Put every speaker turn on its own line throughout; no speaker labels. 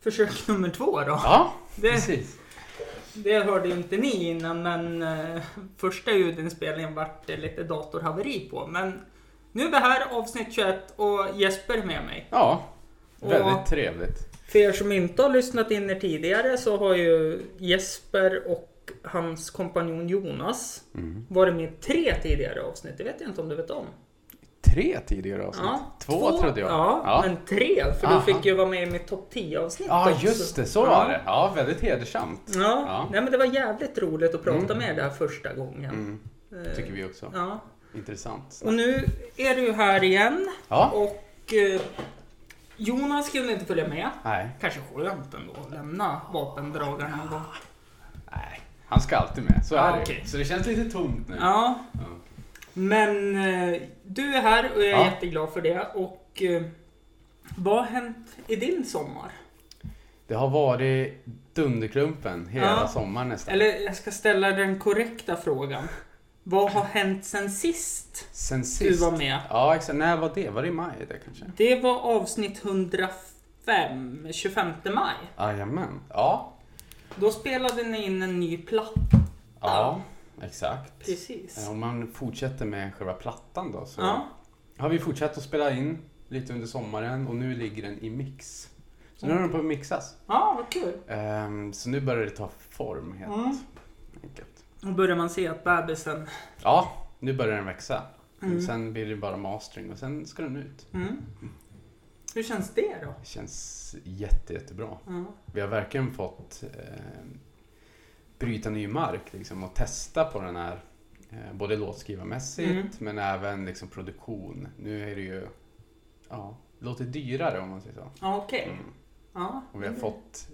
försök nummer två då.
Ja,
Det,
precis.
det hörde ju inte ni innan men eh, första ljudinspelningen vart det lite datorhaveri på. Men nu är vi här avsnitt 21 och Jesper är med mig.
Ja,
Och-
väldigt trevligt.
För er som inte har lyssnat in er tidigare så har ju Jesper och hans kompanjon Jonas
Mm.
varit med i tre tidigare avsnitt. Det vet jag inte om du vet om.
Tre tidigare avsnitt? två, trodde jag.
Ja,
ja.
men tre. För
Aha.
du fick ju vara med i mitt topp 10 avsnitt
Ja,
också.
just det. Så
ja.
var det. Ja, väldigt hedersamt.
Ja.
Ja. Mm.
Nej, men det var jävligt roligt att prata med er där första gången. Eh,
Tycker vi också.
Ja.
Intressant.
Och nu är du här igen.
Ja.
Och eh, Jonas kunde inte följa med.
Nej.
Kanske skönt ändå att lämna vapendragarna någon gång.
Nej. Han ska alltid med. Så är
Ja,
det ju.
okej.
Så det känns lite tomt nu.
Ja.
Ja.
Men eh, du är här och jag är
Ja.
jätteglad för det. Och eh, vad har hänt i din sommar?
Det har varit Dunderklumpen hela
Ja.
sommaren nästan.
Eller jag ska ställa den korrekta frågan. Vad har hänt sen sist?
Sen sist.
du var med.
Ja, exakt. När var det? Var det i maj det kanske?
Det var avsnitt 105, 25 maj.
Jajamän. Ja.
Då spelade ni in en ny platta.
Ja, exakt.
Precis.
Om man fortsätter med själva plattan då så
Ja.
har vi fortsatt att spela in lite under sommaren och nu ligger den i mix. Så
Mm.
nu håller den på att mixas.
ja, vad kul.
Ehm, så nu börjar det ta form helt
Mm.
enkelt.
Då börjar man se att bebisen...
Ja, nu börjar den växa.
Mm.
Sen blir det bara mastering och sen ska den ut.
Mm. Hur känns det då?
Det känns jätte, jättebra.
Ja.
Vi har verkligen fått eh, bryta ny mark liksom, och testa på den här. Eh, både låtskrivarmässigt
Mm.
men även liksom, produktion. Nu är det ju, ja, låter dyrare om man säger så.
Ja, Okej.
Mm.
Ja.
Och vi har fått,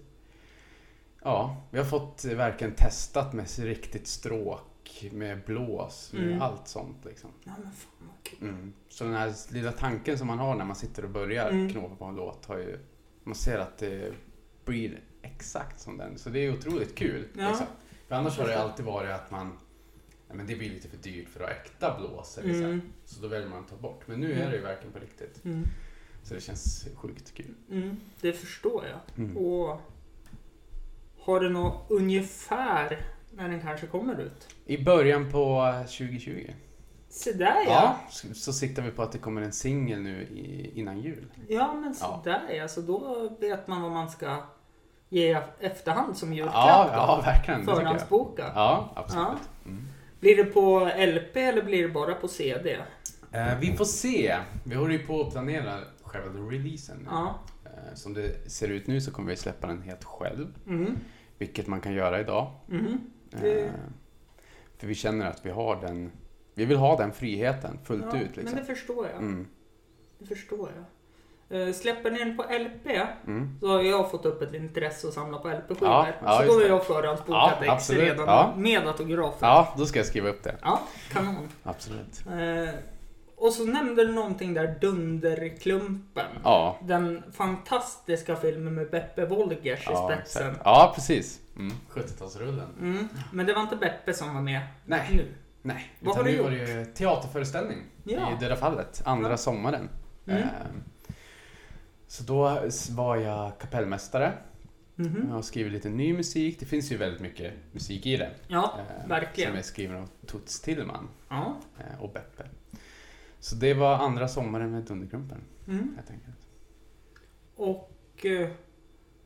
ja, vi har fått eh, verkligen testat med s- riktigt stråk, med blås, med
Mm.
allt sånt liksom.
Ja, men fan vad kul.
Mm. Så den här lilla tanken som man har när man sitter och börjar
Mm.
knåpa på en låt har ju, man ser att det blir exakt som den. Så det är otroligt kul.
Ja.
Liksom. För annars har det alltid varit att man, nej men det blir lite för dyrt för att ha äkta blås. eller Så, här.
Mm.
så då väljer man att ta bort. Men nu är det ju verkligen på riktigt.
Mm.
Så det känns sjukt kul.
Mm. Det förstår jag.
Mm.
Och har du något ungefär när den kanske kommer ut?
I början på 2020
Se där ja.
ja. så, så siktar vi på att det kommer en singel nu i, innan jul.
Ja, men se
Ja.
där ja. Så då vet man vad man ska ge efterhand som
Ja,
julklapp.
ja verkligen. Det tycker jag.
Förhandsboka.
Ja, absolut.
Ja.
Mm.
Blir det på LP eller blir det bara på CD?
Eh, vi får se. Vi håller ju på att planera själva releasen. nu.
Ja.
Eh, som det ser ut nu så kommer vi släppa den helt själv,
Mm.
vilket man kan göra idag.
Mm.
Eh,
Det-
för vi känner att vi har den, vi vill ha den friheten fullt
ja,
ut.
Men
Liksom.
det förstår jag.
Mm,
Det förstår jag. Eh, Släpper ni den på LP
mm.
så har jag fått upp ett intresse att samla på LP-skivor.
Ja, ja,
så då
just
har
det.
jag förhandsbokat
Ja,
ex
absolut.
redan
Ja.
med autografer.
Ja, då ska jag skriva upp det.
Ja, kanon.
Absolut.
Eh, och så nämnde du någonting där, Dunderklumpen.
Ja,
Den fantastiska filmen med Beppe Wolgers i
ja,
spetsen.
exakt. ja precis. Mm. 70-talsrullen.
Mm. Men det var inte Beppe som var med
Nej,
nu.
nej.
Vad
Utan
har du
nu var det ju teaterföreställning
Ja.
i Döda fallet, andra
Ja.
sommaren.
Mm.
Ehm, Så då var jag kapellmästare
Mhm.
Jag har skrivit lite ny musik. Det finns ju väldigt mycket musik i det.
Ja,
eh,
verkligen.
Som är skriven av Toots Tillman
ja.
eh, och Beppe. Så det var andra sommaren med Dunderklumpen,
Mm.
helt enkelt.
Och eh,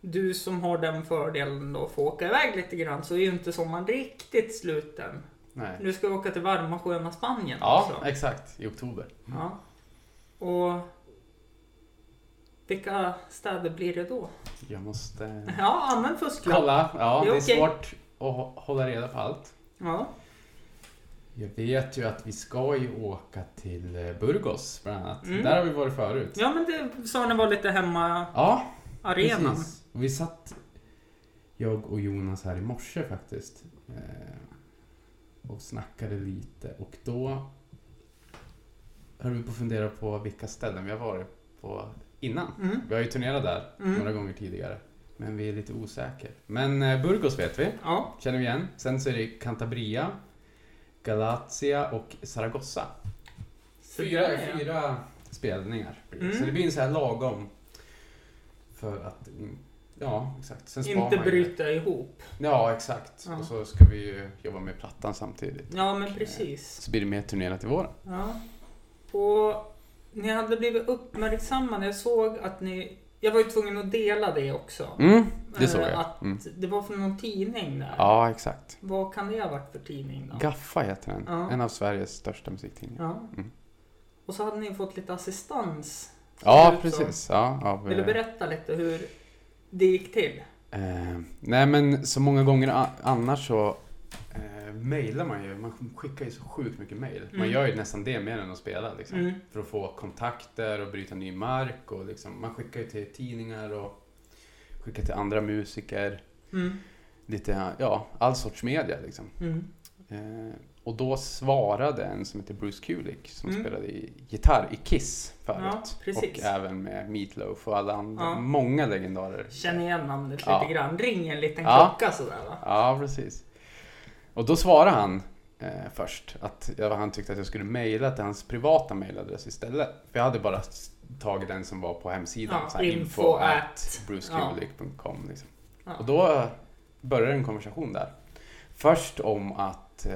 du som har den fördelen då att få åka iväg lite grann så är ju inte sommaren riktigt slut än.
Nej.
Du ska åka till varma sköna Spanien
Ja,
också.
exakt. I oktober.
Ja. Och vilka städer blir det då?
Jag måste eh,
Ja, använd fusklapp.
kolla. Ja,
Det
det
är
är
okej.
svårt att hå- hålla reda på allt.
Ja.
Jag vet ju att vi ska ju åka till eh, Burgos bland annat.
Mm.
Där har vi varit förut.
ja, men det sa ni var lite hemma
Ja,
arenan.
Precis. Och vi satt, jag och Jonas här i morse faktiskt, eh, och snackade lite och då höll vi på att fundera på vilka ställen vi har varit på innan.
Mm.
Vi har ju turnerat där
Mm.
några gånger tidigare, men vi är lite osäkra. Men eh, Burgos vet vi,
Ja,
känner vi igen. Sen så är det Cantabria, Galatia och Zaragoza.
så
Fyra,
där, ja.
fyra spelningar. blir det.
Mm.
Så det blir en så här lagom för att mm, Ja, exakt. Sen sparar
Inte
man ju det.
bryta ihop.
Ja, exakt.
Ja.
Och så ska vi ju jobba med plattan samtidigt.
Ja, men precis.
Så blir det mer turnerat i våren.
Ja. Och ni hade blivit uppmärksammade. Jag såg att ni... Jag var ju tvungen att dela det också.
Mm, det
Eh,
såg
Att
jag. Mm.
Det var från någon tidning där.
Ja, exakt.
Vad kan det ha varit för tidning då?
Gaffa heter den.
Ja.
En av Sveriges största musiktidningar.
Ja.
Mm.
Och så hade ni fått lite assistans.
Ja,
Förutom-
precis. Ja, av,
Vill du
eh,
berätta lite hur det gick till?
Eh, nej men så många gånger a- annars så eh, mejlar man ju. Man skickar ju så sjukt mycket mejl. Man
Mm.
gör ju nästan det mer än att spela liksom.
Mm.
För att få kontakter och bryta ny mark och liksom, man skickar ju till tidningar och skickar till andra musiker.
Mm.
Lite, ja, all sorts media liksom.
Mm.
Eh, och då svarade en som heter Bruce Kulick som
Mm.
spelade i gitarr i Kiss förut.
Ja, precis.
och även med Meatloaf och alla andra,
Ja.
många legendarer.
Känner igen namnet
Ja.
lite grann. Ring en liten
Ja.
klocka sådär va?
Ja, precis. Och då svarade han eh, först att jag, han tyckte att jag skulle mejla till hans privata mejladress istället. För jag hade bara s- tagit den som var på hemsidan.
Ja,
så här,
info
info
at-
at brucekulik.com. Liksom.
Ja.
Och då började en konversation där. Först om att, eh,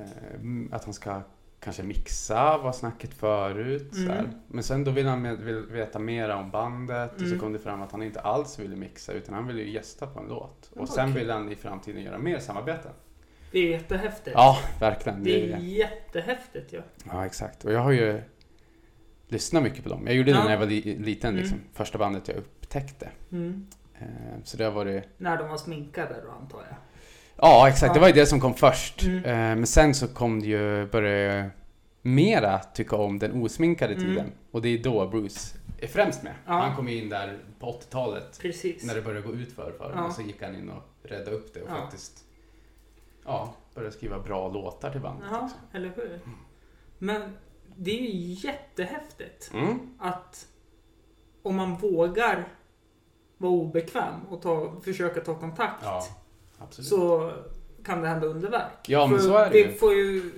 eh, m- att han ska kanske mixa, var snacket förut.
Mm.
Så här. Men sen då ville han med, vill veta mer om bandet och
Mm.
så kom det fram att han inte alls ville mixa utan han ville ju gästa på en låt.
Ja,
Och sen
okej.
ville han i framtiden göra mer samarbeten.
Det är jättehäftigt.
Ja, verkligen.
Det
Det
är
är,
jättehäftigt ju.
ja, exakt. Och jag har ju lyssnat mycket på dem. Jag gjorde
Ja.
det när jag var li- liten,
Mm.
liksom. första bandet jag upptäckte.
Mm.
Eh, Så det har varit
När de var sminkade då antar jag.
Ja, exakt. Det
Ja.
var ju det som kom först.
Mm.
Eh, Men sen så kom det ju, började jag mera tycka om den osminkade
Mm.
tiden. Och det är då Bruce är främst med.
Ja.
Han kom ju in där på 80-talet
Precis.
när det började gå ut för, för
Ja.
Och så gick han in och räddade upp det och
Ja.
faktiskt ja, började skriva bra låtar till bandet.
Ja,
också.
eller hur? Men det är ju jättehäftigt
Mm.
att om man vågar vara obekväm och ta, försöka ta kontakt
Ja, absolut.
så kan det hända underverk.
ja, men
För
så är det
Vi
ju.
får ju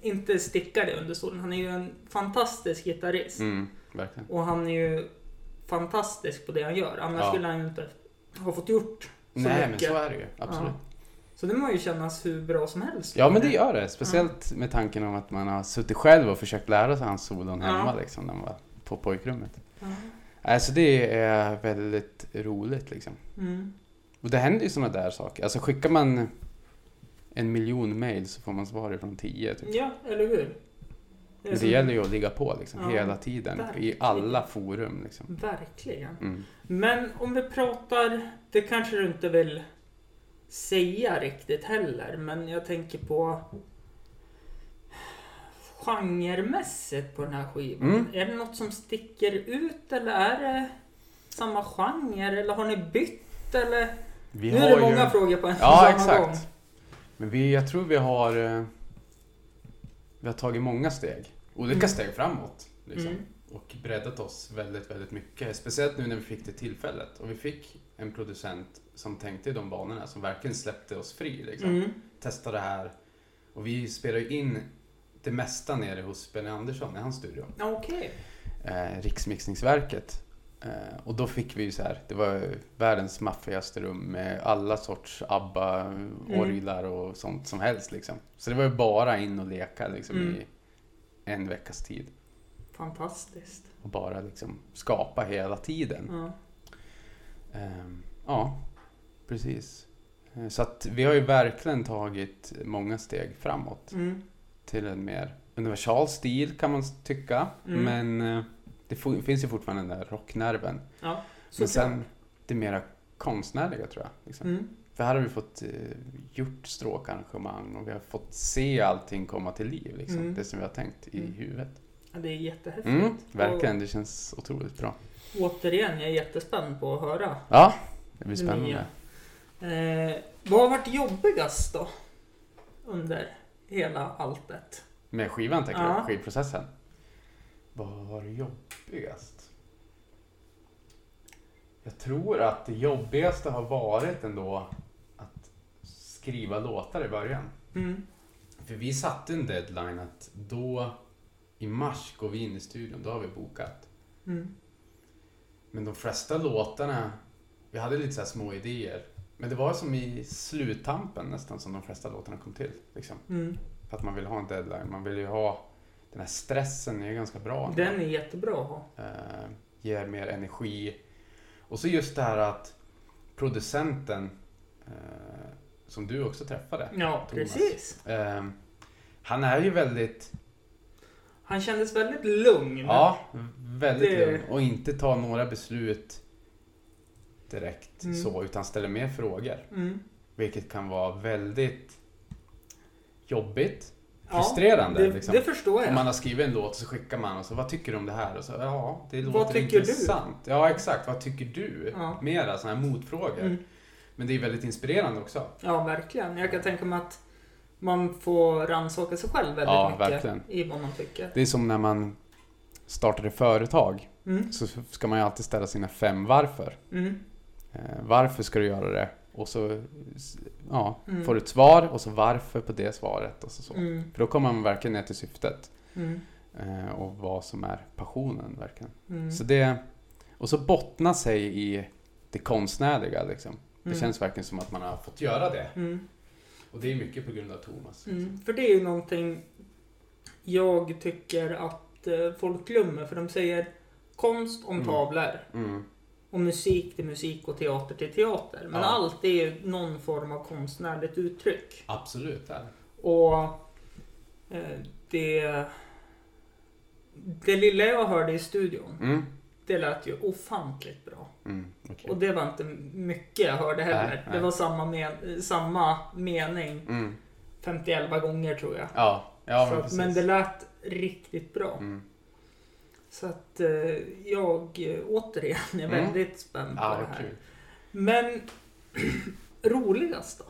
inte sticka det under stolen. Han är ju en fantastisk gitarrist.
Mm, verkligen.
Och han är ju fantastisk på det han gör. Annars
Ja.
skulle han ju inte ha fått gjort så
Nej, men
mycket.
så är det ju. Absolut.
Så det må ju kännas hur bra som helst.
Ja men det gör det, speciellt med tanken om att man har suttit själv och försökt lära sig hans solon
Ja.
hemma liksom när man var på pojkrummet.
Ja.
Alltså det är väldigt roligt liksom.
Mm.
Och det händer ju sådana där saker. Alltså skickar man en miljon mail så får man svar från tio typ.
ja, eller hur? är
Men
så-
det gäller ju att ligga på liksom
Ja,
hela tiden i
verkligen.
alla forum liksom.
Verkligen.
Mm.
Men om vi pratar, det kanske du inte vill säga riktigt heller, men jag tänker på genremässigt på den här skivan.
Mm.
Är det något som sticker ut eller är det samma genre eller har ni bytt eller?
Vi
nu är det många frågor på en
Ja,
samma gång.
exakt. Men vi, jag tror vi har eh, Vi har tagit många steg. Olika
Mm.
steg framåt. Liksom.
Mm.
Och breddat oss väldigt, väldigt mycket. Speciellt nu när vi fick det tillfället. Och vi fick en producent som tänkte i de banorna. Som verkligen släppte oss fri. Liksom.
Mm.
Testa det här. Och vi spelar ju in det mesta nere hos Benny Andersson i hans studio.
Okej.
Eh, Riksmixningsverket. Eh, och då fick vi ju så här. Det var ju världens maffigaste rum med alla sorts ABBA,
Mm.
orglar och sånt som helst. Liksom. Så det var ju bara in och leka liksom,
Mm.
i en veckas tid.
Fantastiskt.
Och bara liksom skapa hela tiden.
Ja.
Ehm, Ja, precis. Eh, Så att vi har ju verkligen tagit många steg framåt
Mm.
till en mer universal stil kan man s- tycka.
Mm.
Men eh, det fo- finns ju fortfarande den där rocknerven.
Ja,
Men
såklart.
sen det mera konstnärliga tror jag. Liksom.
Mm.
För här har vi fått eh, gjort stråkarrangemang och vi har fått se allting komma till liv. Liksom.
Mm.
Det som vi har tänkt i
Mm.
huvudet.
Ja, det är jättehäftigt.
Mm, verkligen, det känns otroligt bra.
Och, återigen, jag är jättespänd på att höra
Ja, det blir
Det nya.
spännande.
Eh, vad har varit jobbigast då? Under hela alltet?
Med skivan tänker
Ja.
du? Skivprocessen? Vad var det jobbigast? Jag tror att det jobbigaste har varit ändå att skriva låtar i början.
Mm.
För vi satte en deadline att då i mars går vi in i studion, då har vi bokat.
Mm.
Men de flesta låtarna, vi hade lite så här små idéer. Men det var som i sluttampen nästan som de flesta låtarna kom till. Liksom.
Mm.
För att man vill ha en deadline, man vill ju ha den här stressen är ju ganska bra.
Den är jättebra att ha.
eh, ger mer energi. Och så just det här att producenten eh, som du också träffade.
Ja,
Thomas.
precis.
ehm, han är ju väldigt,
Han kändes väldigt lugn.
ja, väldigt
Det-
lugn och inte tar några beslut direkt
Mm.
så utan ställer mer frågor.
Mm.
Vilket kan vara väldigt jobbigt,
ja
frustrerande.
det,
liksom.
det förstår jag.
Om man har skrivit en låt och så skickar man och så vad tycker du om det här? Och så ja, det
Vad
låter
tycker du?
intressant. Du? Ja, exakt. Vad tycker du?
Ja.
Mera sådana här motfrågor.
Mm.
Men det är väldigt inspirerande också.
Ja, verkligen. Jag kan tänka mig att man får rannsaka sig själv väldigt
Ja,
mycket
verkligen.
i vad man tycker.
Det är som när man startar ett företag
Mm.
så ska man ju alltid ställa sina fem varför.
Mm.
Eh, varför ska du göra det? Och så ja,
Mm.
får du ett svar och så varför på det svaret och så. så.
Mm.
För då kommer man verkligen ner till syftet
Mm.
eh, och vad som är passionen verkligen.
Mm.
Så det, och så bottna sig i det konstnärliga liksom. Det
Mm.
känns verkligen som att man har fått göra det.
Mm.
Och det är mycket på grund av Thomas.
Mm. För det är ju någonting jag tycker att eh, folk glömmer. För de säger konst om
Mm.
tavlor
Mm.
och musik till musik och teater till teater. Men
Ja.
allt är ju någon form av konstnärligt uttryck.
Absolut. Där.
Och eh, det, det lilla jag hörde i studion,
Mm.
det lät ju ofantligt bra.
Mm. okej.
Och det var inte mycket jag hörde heller.
Nej,
Det
nej.
var samma, men, samma mening
Mm.
51 gånger tror jag.
Ja, ja
Så
men
att,
precis.
men det lät riktigt bra.
mm.
Så att eh, jag eh, återigen är
Mm.
väldigt spänd på
ja,
det
vad
här.
kul.
Men roligast då?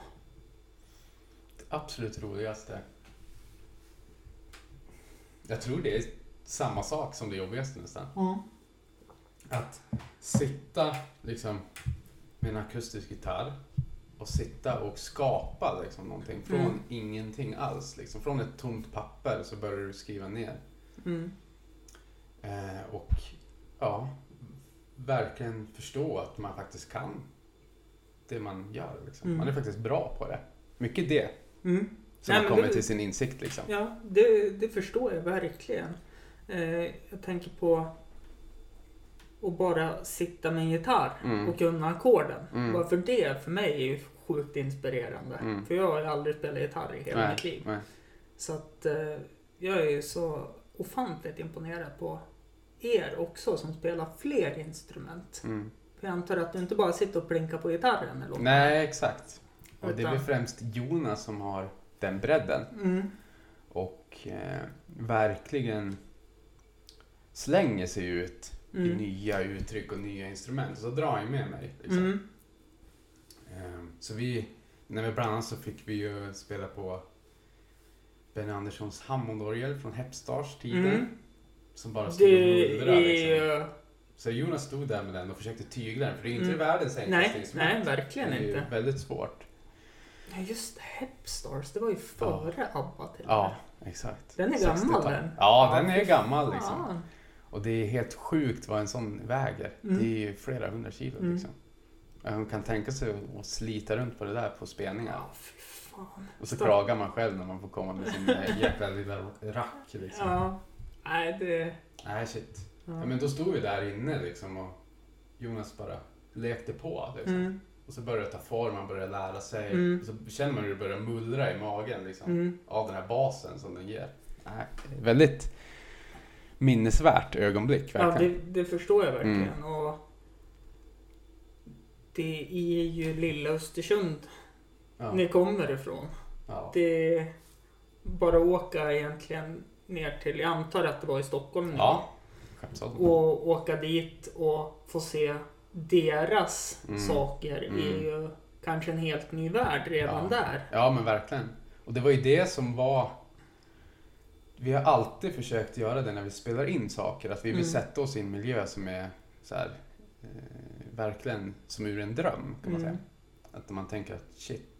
Det absolut roligaste. Jag tror det är samma sak som det jobbigaste nästan. Att sitta liksom med en akustisk gitarr och sitta och skapa liksom någonting från
Mm.
ingenting alls. Liksom. Från ett tomt papper så börjar du skriva ner.
Mm.
Eh, och ja, verkligen förstå att man faktiskt kan det man gör. Liksom.
Mm.
Man är faktiskt bra på det. Mycket det
Mm.
som
Nej,
har
men
kommit
det-
till sin insikt liksom.
Ja, det, det förstår jag verkligen. Eh, jag tänker på att bara sitta med en gitarr
Mm.
och kunna ackorden.
Mm.
Bara för det för mig är ju sjukt inspirerande.
Mm.
För jag har ju aldrig spelat gitarr i hela mitt liv.
nej.
Så att eh, jag är ju så ofantligt imponerad på er också som spelar fler instrument.
Mm.
För jag antar att du inte bara sitter och plinkar på gitarren eller
nej, exakt. Och det är väl
Utan-
främst Jonas som har den bredden.
Mm.
och eh, verkligen slänger sig ut i
Mm.
nya uttryck och nya instrument. Så drar jag med mig. Liksom.
Mm.
Eh, så vi, när vi bland annat så fick vi ju spela på Benny Anderssons Hammondorgel från Hepstars tider.
Mm.
Som bara stod
Det
och
är
mullrade. Liksom.
ju...
Så Jonas stod där med den och försökte tygla den, för det är ju inte
Mm.
världens enklaste
Nej,
instrument.
nej, verkligen
det är ju
inte.
väldigt svårt.
Nej just det, Hepstars, det var ju före ABBA till och med.
Ja, exakt.
Den är gammal,
60-tal.
den.
Ja,
Ja,
den är
fy
gammal liksom.
Fan.
Och det är helt sjukt vad en sån väger.
Mm.
Det är ju flera hundra kilo
Mm.
liksom. Hon kan tänka sig att slita runt på det där på spelningar.
Ja, fy fan.
Och så
Stopp.
klagar man själv när man får komma med sin eh, jäkla lilla rack liksom.
Ja. Nej, det...
Nej shit. Ja.
Ja.
men då stod vi där inne liksom och Jonas bara lekte på liksom.
Mm,
Och så började det ta form, man började lära sig.
Mm.
Och så känner man hur det börjar mullra i magen liksom.
mm.
Av den här basen som den ger. Nej, väldigt minnesvärt ögonblick
ja
verkligen.
det, det förstår jag verkligen.
Mm.
Och det är ju lilla Östersund ni kommer ifrån.
Ja.
Det är bara att åka egentligen ner till, jag antar att det var i Stockholm nu.
Ja, skämtsamt.
Och åka dit och få se deras
Mm.
saker är
Mm.
ju kanske en helt ny värld redan
Ja.
där.
Ja, men verkligen. Och det var ju det som var... Vi har alltid försökt göra det när vi spelar in saker, att vi vill
Mm.
sätta oss i en miljö som är så här, eh, verkligen som ur en dröm, kan
Mm.
man säga. Att man tänker att shit.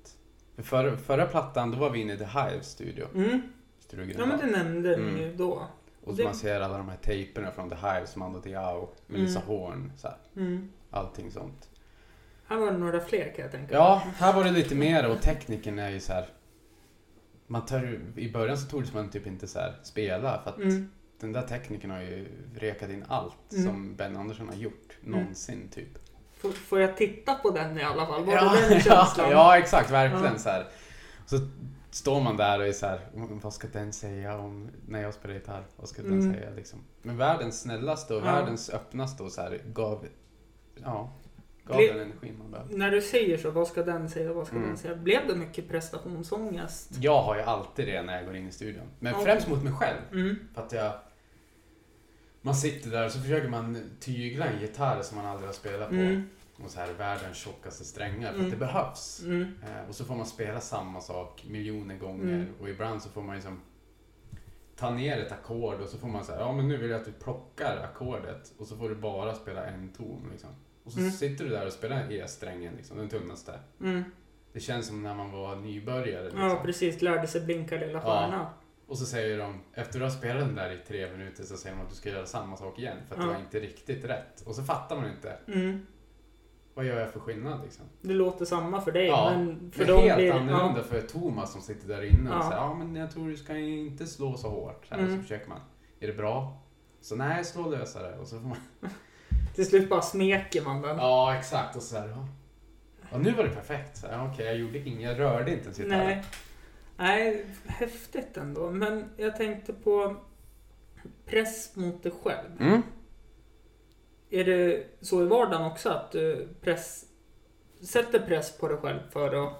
För förra, förra plattan, då var vi inne i The Hive Studio.
Mm.
Studio
Ja men
Gröndal.
det nämnde ni
Mm.
ju då.
Och
Det-
man ser alla de här tejperna från The Hives, Mando Diao, Melissa
Mm.
Horn, så här,
Mm.
allting sånt.
Här var det några fler kan jag tänka mig.
Ja, här var det lite mer och tekniken är ju så här. Man tar, ju- I början så tordes man typ inte så här spela för att
Mm.
den där tekniken har ju rekat in allt
Mm.
som Ben Andersson har gjort någonsin typ.
Får, får jag titta på den i alla fall? Var
Ja,
det den
ja,
känslan?
ja, exakt, verkligen
Ja.
så här. Så står man där och är så här, "Mm, vad ska den säga om när jag spelar gitarr? Vad ska den
Mm.
säga liksom? Men världens snällaste och
Ja.
världens öppnaste och så här gav, ja, gav
Blir-
den energin man behövde.
När du säger så, vad ska den säga, vad ska
Mm.
den säga? Blev det mycket prestationsångest?
Jag har ju alltid det när jag går in i studion. Men
Okej.
främst mot mig själv.
Mm.
För att jag... Man sitter där och så försöker man tygla en gitarr som man aldrig har spelat på.
Mm.
Och så här världens tjockaste strängar, för
Mm.
att det behövs.
Mm.
Eh, och så får man spela samma sak miljoner gånger
Mm.
och ibland så får man liksom ta ner ett ackord och så får man säga ja men nu vill jag att du plockar ackordet och så får du bara spela en ton liksom. Och så
Mm.
sitter du där och spelar E-strängen, liksom, den tunnaste.
Mm.
Det känns som när man var nybörjare. Liksom.
Ja, precis. Lärde sig blinka lilla
Ja.
stjärna.
Och så säger de, efter du har spelat den där i tre minuter så säger de att du ska göra samma sak igen för att det
Ja.
var inte riktigt rätt. Och så fattar man inte,
Mm.
vad gör jag för skillnad liksom?
Det låter samma för dig,
Ja,
men för
För
dem
helt
blir
annorlunda för Thomas som sitter där inne och
Ja.
säger, ja men jag tror du ska inte slå så hårt. Så, här,
Mm.
så försöker man, är det bra? Så nej, slå lösare. Och så får man,
Ja, till slut bara smeker man den.
ja exakt. Och så här, ja. Och nu var det perfekt. Så här, ja, Okej, jag gjorde inget, jag rörde inte ens gitarren.
Nej. Nej, häftigt ändå. Men jag tänkte på press mot dig själv.
Mm.
Är det så i vardagen också att du press, sätter press på dig själv för att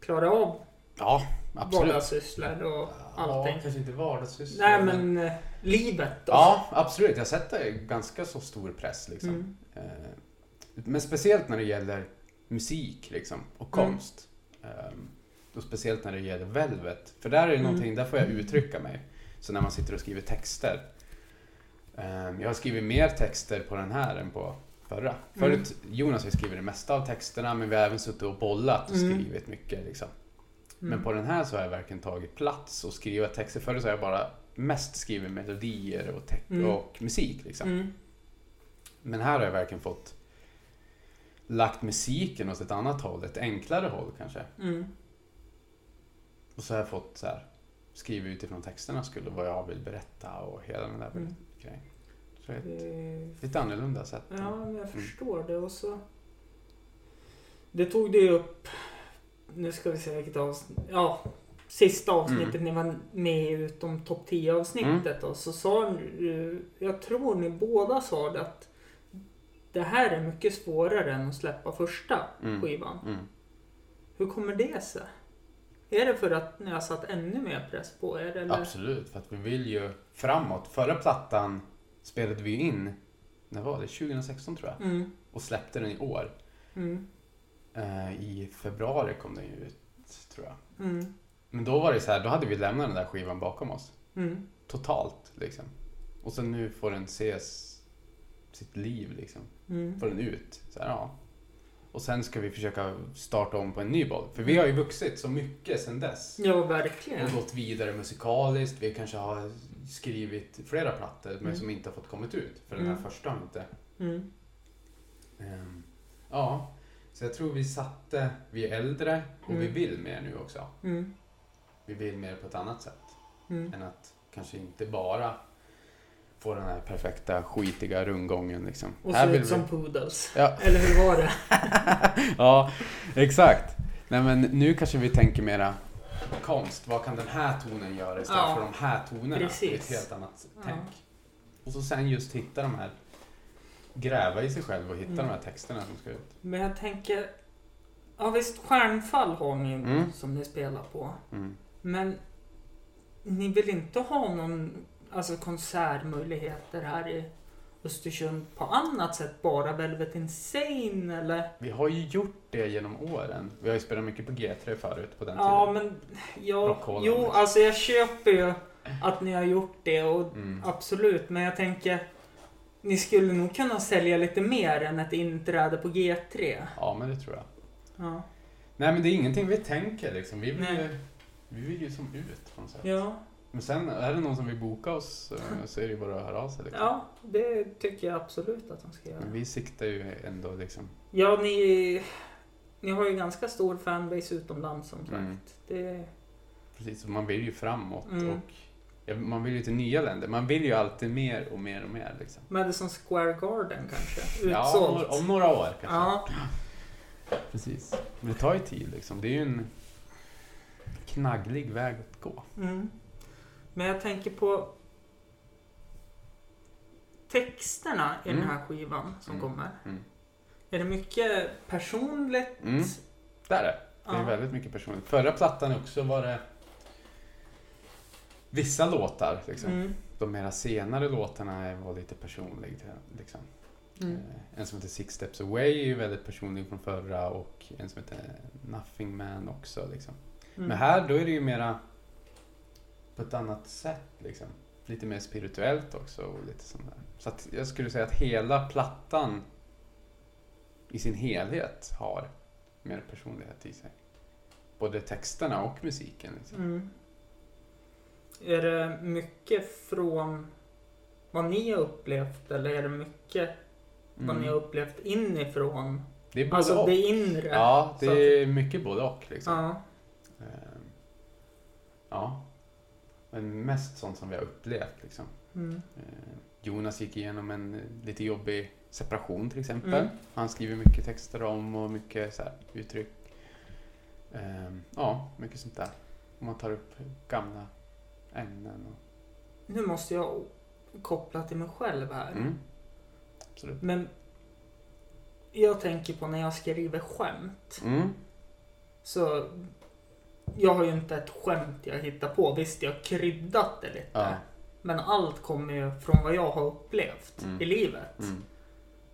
klara av
Ja, absolut.
vardagssysslor och
Ja,
allting?
kanske inte vardagssysslor.
Nej, men eh, livet då.
Ja, absolut. Jag sätter ganska så stor press liksom.
Mm.
Eh, Men speciellt när det gäller musik liksom, och
Mm.
konst. Ehm, Och speciellt när det gäller Velvet. För där är det
Mm.
någonting, där får jag uttrycka mig. Så när man sitter och skriver texter. Ehm, Jag har skrivit mer texter på den här än på
Mm.
förra. Förut, Jonas har ju skrivit det mesta av texterna men vi har även suttit och bollat och
Mm.
skrivit mycket. Liksom.
Mm.
Men på den här så har jag verkligen tagit plats och skrivit texter. Förut så har jag bara mest skrivit melodier och, te-
Mm.
och musik. Liksom.
Mm.
Men här har jag verkligen fått lagt musiken åt ett annat håll, ett enklare håll kanske.
Mm.
Och så har jag fått så här, skriva utifrån texterna skulle vad jag vill berätta och hela den där
Mm.
grejen. Så det är ett
Eh,
lite annorlunda sätt.
Ja, men jag
Mm.
förstår det. Och så... Det tog du ju upp... Nu ska vi se vilket avsnitt... Ja, sista avsnittet
Mm.
ni var med i utom topp 10 avsnittet. Och så sa du... Jag tror ni båda sa det att det här är mycket svårare än att släppa första
Mm.
skivan.
Mm.
Hur kommer det sig? Är det för att ni har satt ännu mer press på er? Eller?
Absolut, för att vi vill ju framåt. Förra plattan spelade vi in, när var det? 2016 tror jag.
Mm,
Och släppte den i år.
mm,
Eh, I februari kom den ju ut, tror jag.
mm,
Men då var det så här, då hade vi lämnat den där skivan bakom oss.
mm,
totalt liksom. Och sen nu får den ses sitt liv liksom.
mm,
Får den ut. Så här, ja. Och sen ska vi försöka starta om på en ny boll. För vi har ju vuxit så mycket sen dess.
Ja, verkligen.
Och gått vidare musikaliskt. Vi kanske har skrivit flera plattor men
Mm.
som inte har fått kommit ut. För den här
Mm.
första har inte.
Mm,
Ehm, ja. Så jag tror vi satte, vi är äldre och vi
Mm.
vill mer nu också.
mm,
Vi vill mer på ett annat sätt.
mm.
än att kanske inte bara få den här perfekta skitiga rundgången liksom.
Och
Här
se
vill
ut som poodles.
Ja.
Eller hur var det?
ja, exakt. Nej men nu kanske vi tänker mera konst. Vad kan den här tonen göra istället
Ja.
för de här tonerna?
Precis.
Det är ett helt annat
Ja.
tänk. Och så sen just hitta de här, gräva i sig själv och hitta
Mm.
de här texterna som ska ut.
Men jag tänker... Ja visst, Stjärnfall har ni
Mm.
som ni spelar på.
Mm.
Men ni vill inte ha någon alltså, konsertmöjligheter här i Östersund på annat sätt? Bara Velvet Insane eller?
Vi har ju gjort det genom åren. Vi har ju spelat mycket på G3 förut på den
Ja
tiden.
men...
Rock
Ja,
Hall,
jo,
liksom.
alltså jag köper ju att ni har gjort det och
Mm.
absolut. Men jag tänker... Ni skulle nog kunna sälja lite mer än ett inträde på G3.
Ja men det tror jag.
Ja.
Nej men det är ingenting vi tänker liksom. Vi vill,
Nej.
ju, vi vill ju som ut på något sätt.
Ja,
Men sen, är det någon som vill boka oss eh, så är det ju bara att höra av sig. Liksom.
Ja, det tycker jag absolut att de ska göra.
Men vi siktar ju ändå liksom.
Ja, ni, ni har ju ganska stor fanbase utomlands som sagt.
Mm.
Det,
Precis, och man vill ju framåt
Mm.
och ja, man vill ju till nya länder. Man vill ju alltid mer och mer och mer. Liksom.
Madison Square Garden kanske?
Ja, om,
Utsålt?
nor- om några år kanske.
ja,
Precis. Men det tar ju tid liksom. Det är ju en knagglig väg att gå.
mm. Men jag tänker på texterna i
Mm.
den här skivan som
Mm.
kommer.
Mm.
Är det mycket personligt?
Mm. Där är det. Det är
Ja.
väldigt mycket personligt. Förra plattan också var det vissa låtar. Liksom.
Mm.
De mera senare låtarna var lite personliga. Liksom.
Mm.
Eh, En som heter Six Steps Away är ju väldigt personlig från förra och en som heter Nothing Man också. Liksom.
Mm.
Men här då är det ju mera på ett annat sätt liksom. Lite mer spirituellt också och lite sånt där. Så att jag skulle säga att hela plattan i sin helhet har mer personlighet i sig. Både texterna och musiken. Liksom.
Mm. Är det mycket från vad ni har upplevt eller är det mycket vad ni har
Mm.
upplevt inifrån?
Det är både
Alltså
och.
det inre?
ja, det
så att-
är mycket både och liksom.
Ja.
Ehm, ja. Men mest sånt som vi har upplevt liksom.
Mm.
Eh, Jonas gick igenom en eh, lite jobbig separation till exempel.
Mm.
Han skriver mycket texter om och mycket så här, uttryck. Ehm, ja, mycket sånt där. Och man tar upp gamla ämnen. Och,
Nu måste jag koppla till mig själv här.
mm. Absolut.
Men jag tänker på när jag skriver skämt.
Mm.
Så jag har ju inte ett skämt jag hittar på. Visst, jag har kryddat det lite.
Ja.
Men allt kommer ju från vad jag har upplevt
Mm.
i livet.
Mm.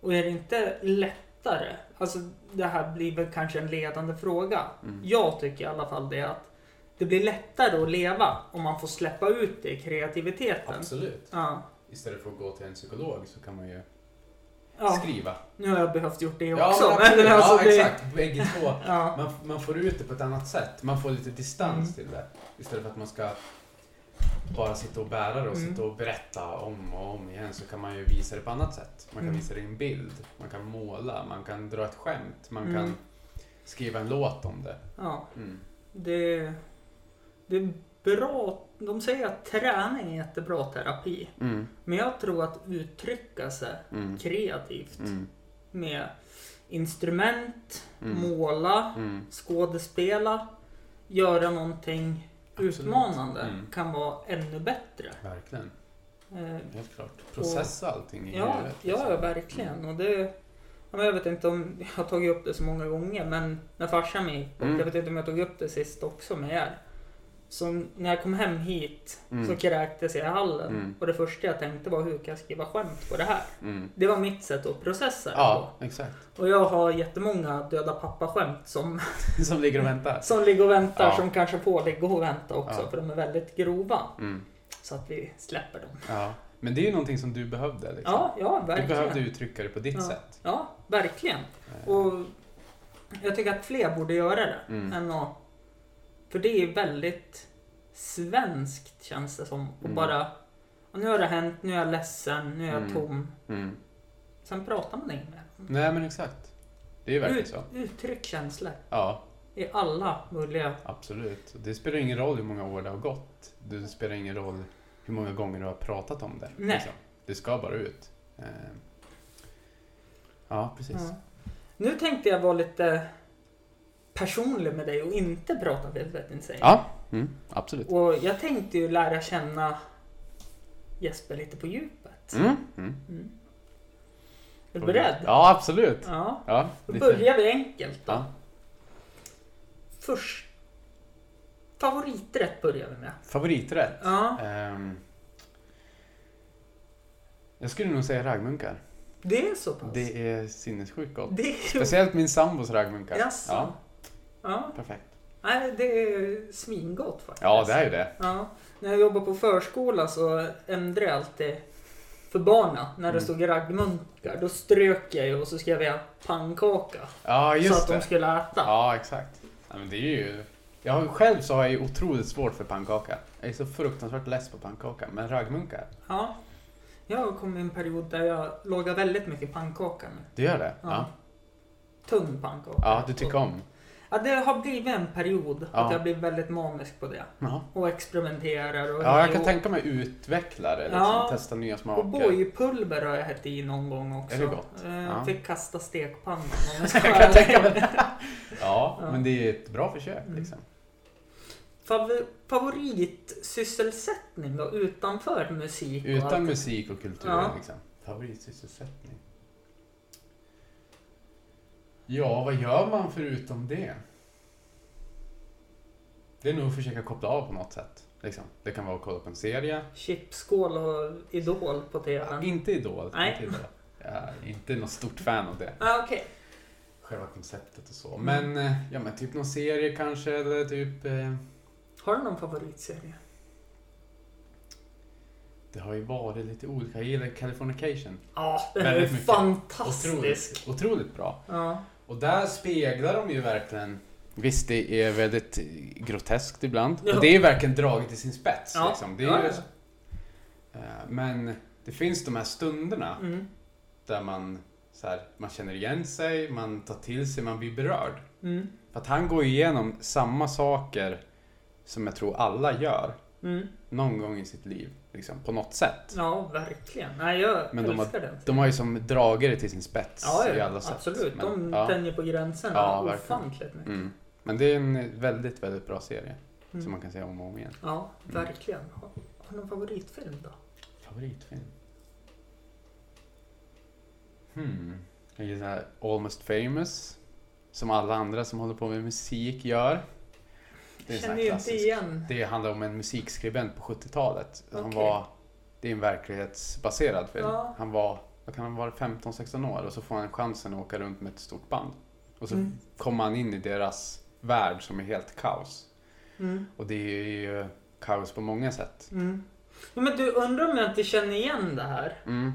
Och är det inte lättare? Alltså det här blir väl kanske en ledande fråga.
Mm.
Jag tycker i alla fall det att det blir lättare att leva om man får släppa ut det i kreativiteten.
Absolut.
Ja.
Istället för att gå till en psykolog så kan man ju
ja,
skriva.
nu har jag behövt gjort det
Ja,
också.
men absolut.
alltså,
ja
det-
exakt. Bägge två.
Ja.
Man, man får ut det på ett annat sätt. Man får lite
Mm.
distans till det. Istället för att man ska bara sitta och bära det och
Mm.
sitta och berätta om och om igen så kan man ju visa det på annat sätt. Man kan
Mm.
visa det i en bild, man kan måla, man kan dra ett skämt, man
Mm.
kan skriva en låt om det.
ja,
Mm.
det, det är bra. De säger att träning är jättebra terapi.
Mm.
Men jag tror att uttrycka sig
Mm.
kreativt
Mm.
med instrument,
Mm.
måla,
Mm.
skådespela, göra någonting
Absolut.
utmanande
Mm.
kan vara ännu bättre.
Verkligen,
Eh,
helt klart. Processa allting i
ja,
huvudet.
ja,
liksom.
ja, verkligen. Och det, ja, men jag vet inte om jag har tagit upp det så många gånger, men när farsan gick bort,
Mm.
jag vet inte om jag tog upp det sist också med er. Så när jag kom hem hit
Mm.
så kräktes jag i hallen
Mm.
och det första jag tänkte var hur kan jag skriva skämt på det här?
Mm.
Det var mitt sätt att processa det
Ja, exakt.
på. Och jag har jättemånga döda pappa-skämt som
Som ligger och väntar.
Som ligger och väntar,
Ja.
som kanske får ligga och vänta också,
Ja.
för de är väldigt grova.
Mm.
Så att vi släpper dem.
Ja. Men det är ju någonting som du behövde. Liksom.
Ja, ja,
du
verkligen.
behövde uttrycka det på ditt
Ja.
sätt.
Ja, verkligen.
Eh,
Och jag tycker att fler borde göra det.
Mm.
Än att, för det är väldigt svenskt känns det som. Och
Mm.
bara, "Ja, nu har det hänt, nu är jag ledsen, nu är jag
Mm.
tom.
Mm.
Sen pratar man inte med dem.
Nej men exakt. Det är ju verkligen
Ut,
så.
uttryck känslor
Ja,
i alla möjliga...
absolut. Och Det spelar ingen roll hur många år det har gått. Det spelar ingen roll hur många gånger du har pratat om det. liksom.
Nej.
Det ska bara ut. Eh, Ja, precis.
Ja. Nu tänkte jag vara lite personlig med dig och inte prata Velvet Insane.
Ja, mm, absolut.
Och jag tänkte ju lära känna Jesper lite på djupet.
Mm, mm.
Mm. Är du beredd?
Ja, absolut.
Ja.
Ja,
Då
lite-
börjar vi enkelt då.
Ja.
Först. Favoriträtt börjar vi med.
Favoriträtt?
Ja,
Ehm, jag skulle nog säga raggmunkar.
det är så pass.
Det är sinnessjukt gott.
det är ju...
Speciellt min sambos raggmunkar.
Jaså?
Ja,
Ja. ja.
perfekt.
Nej, det är svingott faktiskt.
Ja, det är ju det.
Ja. När jag jobbade på förskola så ändrade jag alltid för barna. När det
Mm.
stod raggmunkar, då strök jag ju och så skrev jag pannkaka.
Ja, just
så att
det.
de skulle äta.
Ja, exakt. Ja, men det är ju Jag har ju själv så har jag ju otroligt svårt för pannkaka. Jag är så fruktansvärt less på pannkaka. Men raggmunkar,
Ja. Jag kom i en period där jag lagar väldigt mycket pannkaka nu.
du gör det?
Ja.
Ja.
Tung pannkaka.
Ja, du tycker om?
Ja, det har blivit en period
Ja.
att jag blir väldigt manisk på det.
Ja.
Och experimenterar och...
Ja, jag kan tänka mig utveckla det. Liksom,
Ja.
Testa nya
och
smaker.
bojpulver har jag hett i någon gång också.
Är det gott?
Eh,
Ja.
Fick kasta stekpannan om jag ska
Jag
vara
kan tänka
ärlig.
mig det. Ja,
Ja.
men det är ett bra försök.
Mm.
Liksom.
Fav- favoritsysselsättning då, utanför musik? och allt?
Utan musik och kultur.
Ja.
Liksom. Favoritsysselsättning. Ja, vad gör man förutom det? Det är nog att försöka koppla av på något sätt. Liksom. Det kan vara att kolla på en serie.
Chipskål och Idol på
Ja,
TVn?
inte Idol.
Nej.
Inte idol. Jag är inte något stort fan av det.
Ah, Okej.
Själva konceptet
Mm.
och så. Men, eh, ja, men typ någon serie kanske eller typ... Eh,
Har du någon favoritserie?
det har ju varit lite olika. Jag gillar Californication.
Ja, den är
Väldigt
ju
mycket.
fantastisk.
Otroligt, otroligt bra.
Ja.
Och där speglar de ju verkligen Visst, det är väldigt eh, groteskt ibland.
Ja.
Och det är ju verkligen draget i sin spets.
Ja.
Liksom. Det är
Ja,
ju, Eh, Men det finns de här stunderna
Mm.
där man, så här, man känner igen sig, man tar till sig, man blir berörd.
Mm.
För att han går igenom samma saker som jag tror alla gör
Mm.
någon gång i sitt liv. Liksom, på något sätt.
Ja, verkligen. Nej, jag
Men de har-
älskar den.
De har ju som drager det till sin spets
Ja,
i
ja
alla sätt.
absolut.
Men,
De
ja.
tänjer på gränserna
Ja, verkligen.
ofantligt mycket.
Mm. Men det är en väldigt, väldigt bra serie som
Mm.
man kan säga om och om igen.
Ja,
Mm.
verkligen. Har, har du någon favoritfilm då?
Favoritfilm? Hmm. Jag gillar Almost famous. Som alla andra som håller på med musik gör. Det är en sån
Känner
här
ju inte
klassisk.
igen.
Det handlar om en musikskribent på 70-talet. Han
Okej.
var, det är en verklighetsbaserad film.
Ja.
Han var, vad kan han vara, 15-16 år och så får han chansen att åka runt med ett stort band. Och så
Mm.
kommer han in i deras värld som är helt kaos.
Mm.
Och det är ju kaos på många sätt.
Mm. Ja, men du, undrar om jag inte känner igen det här?
Mm.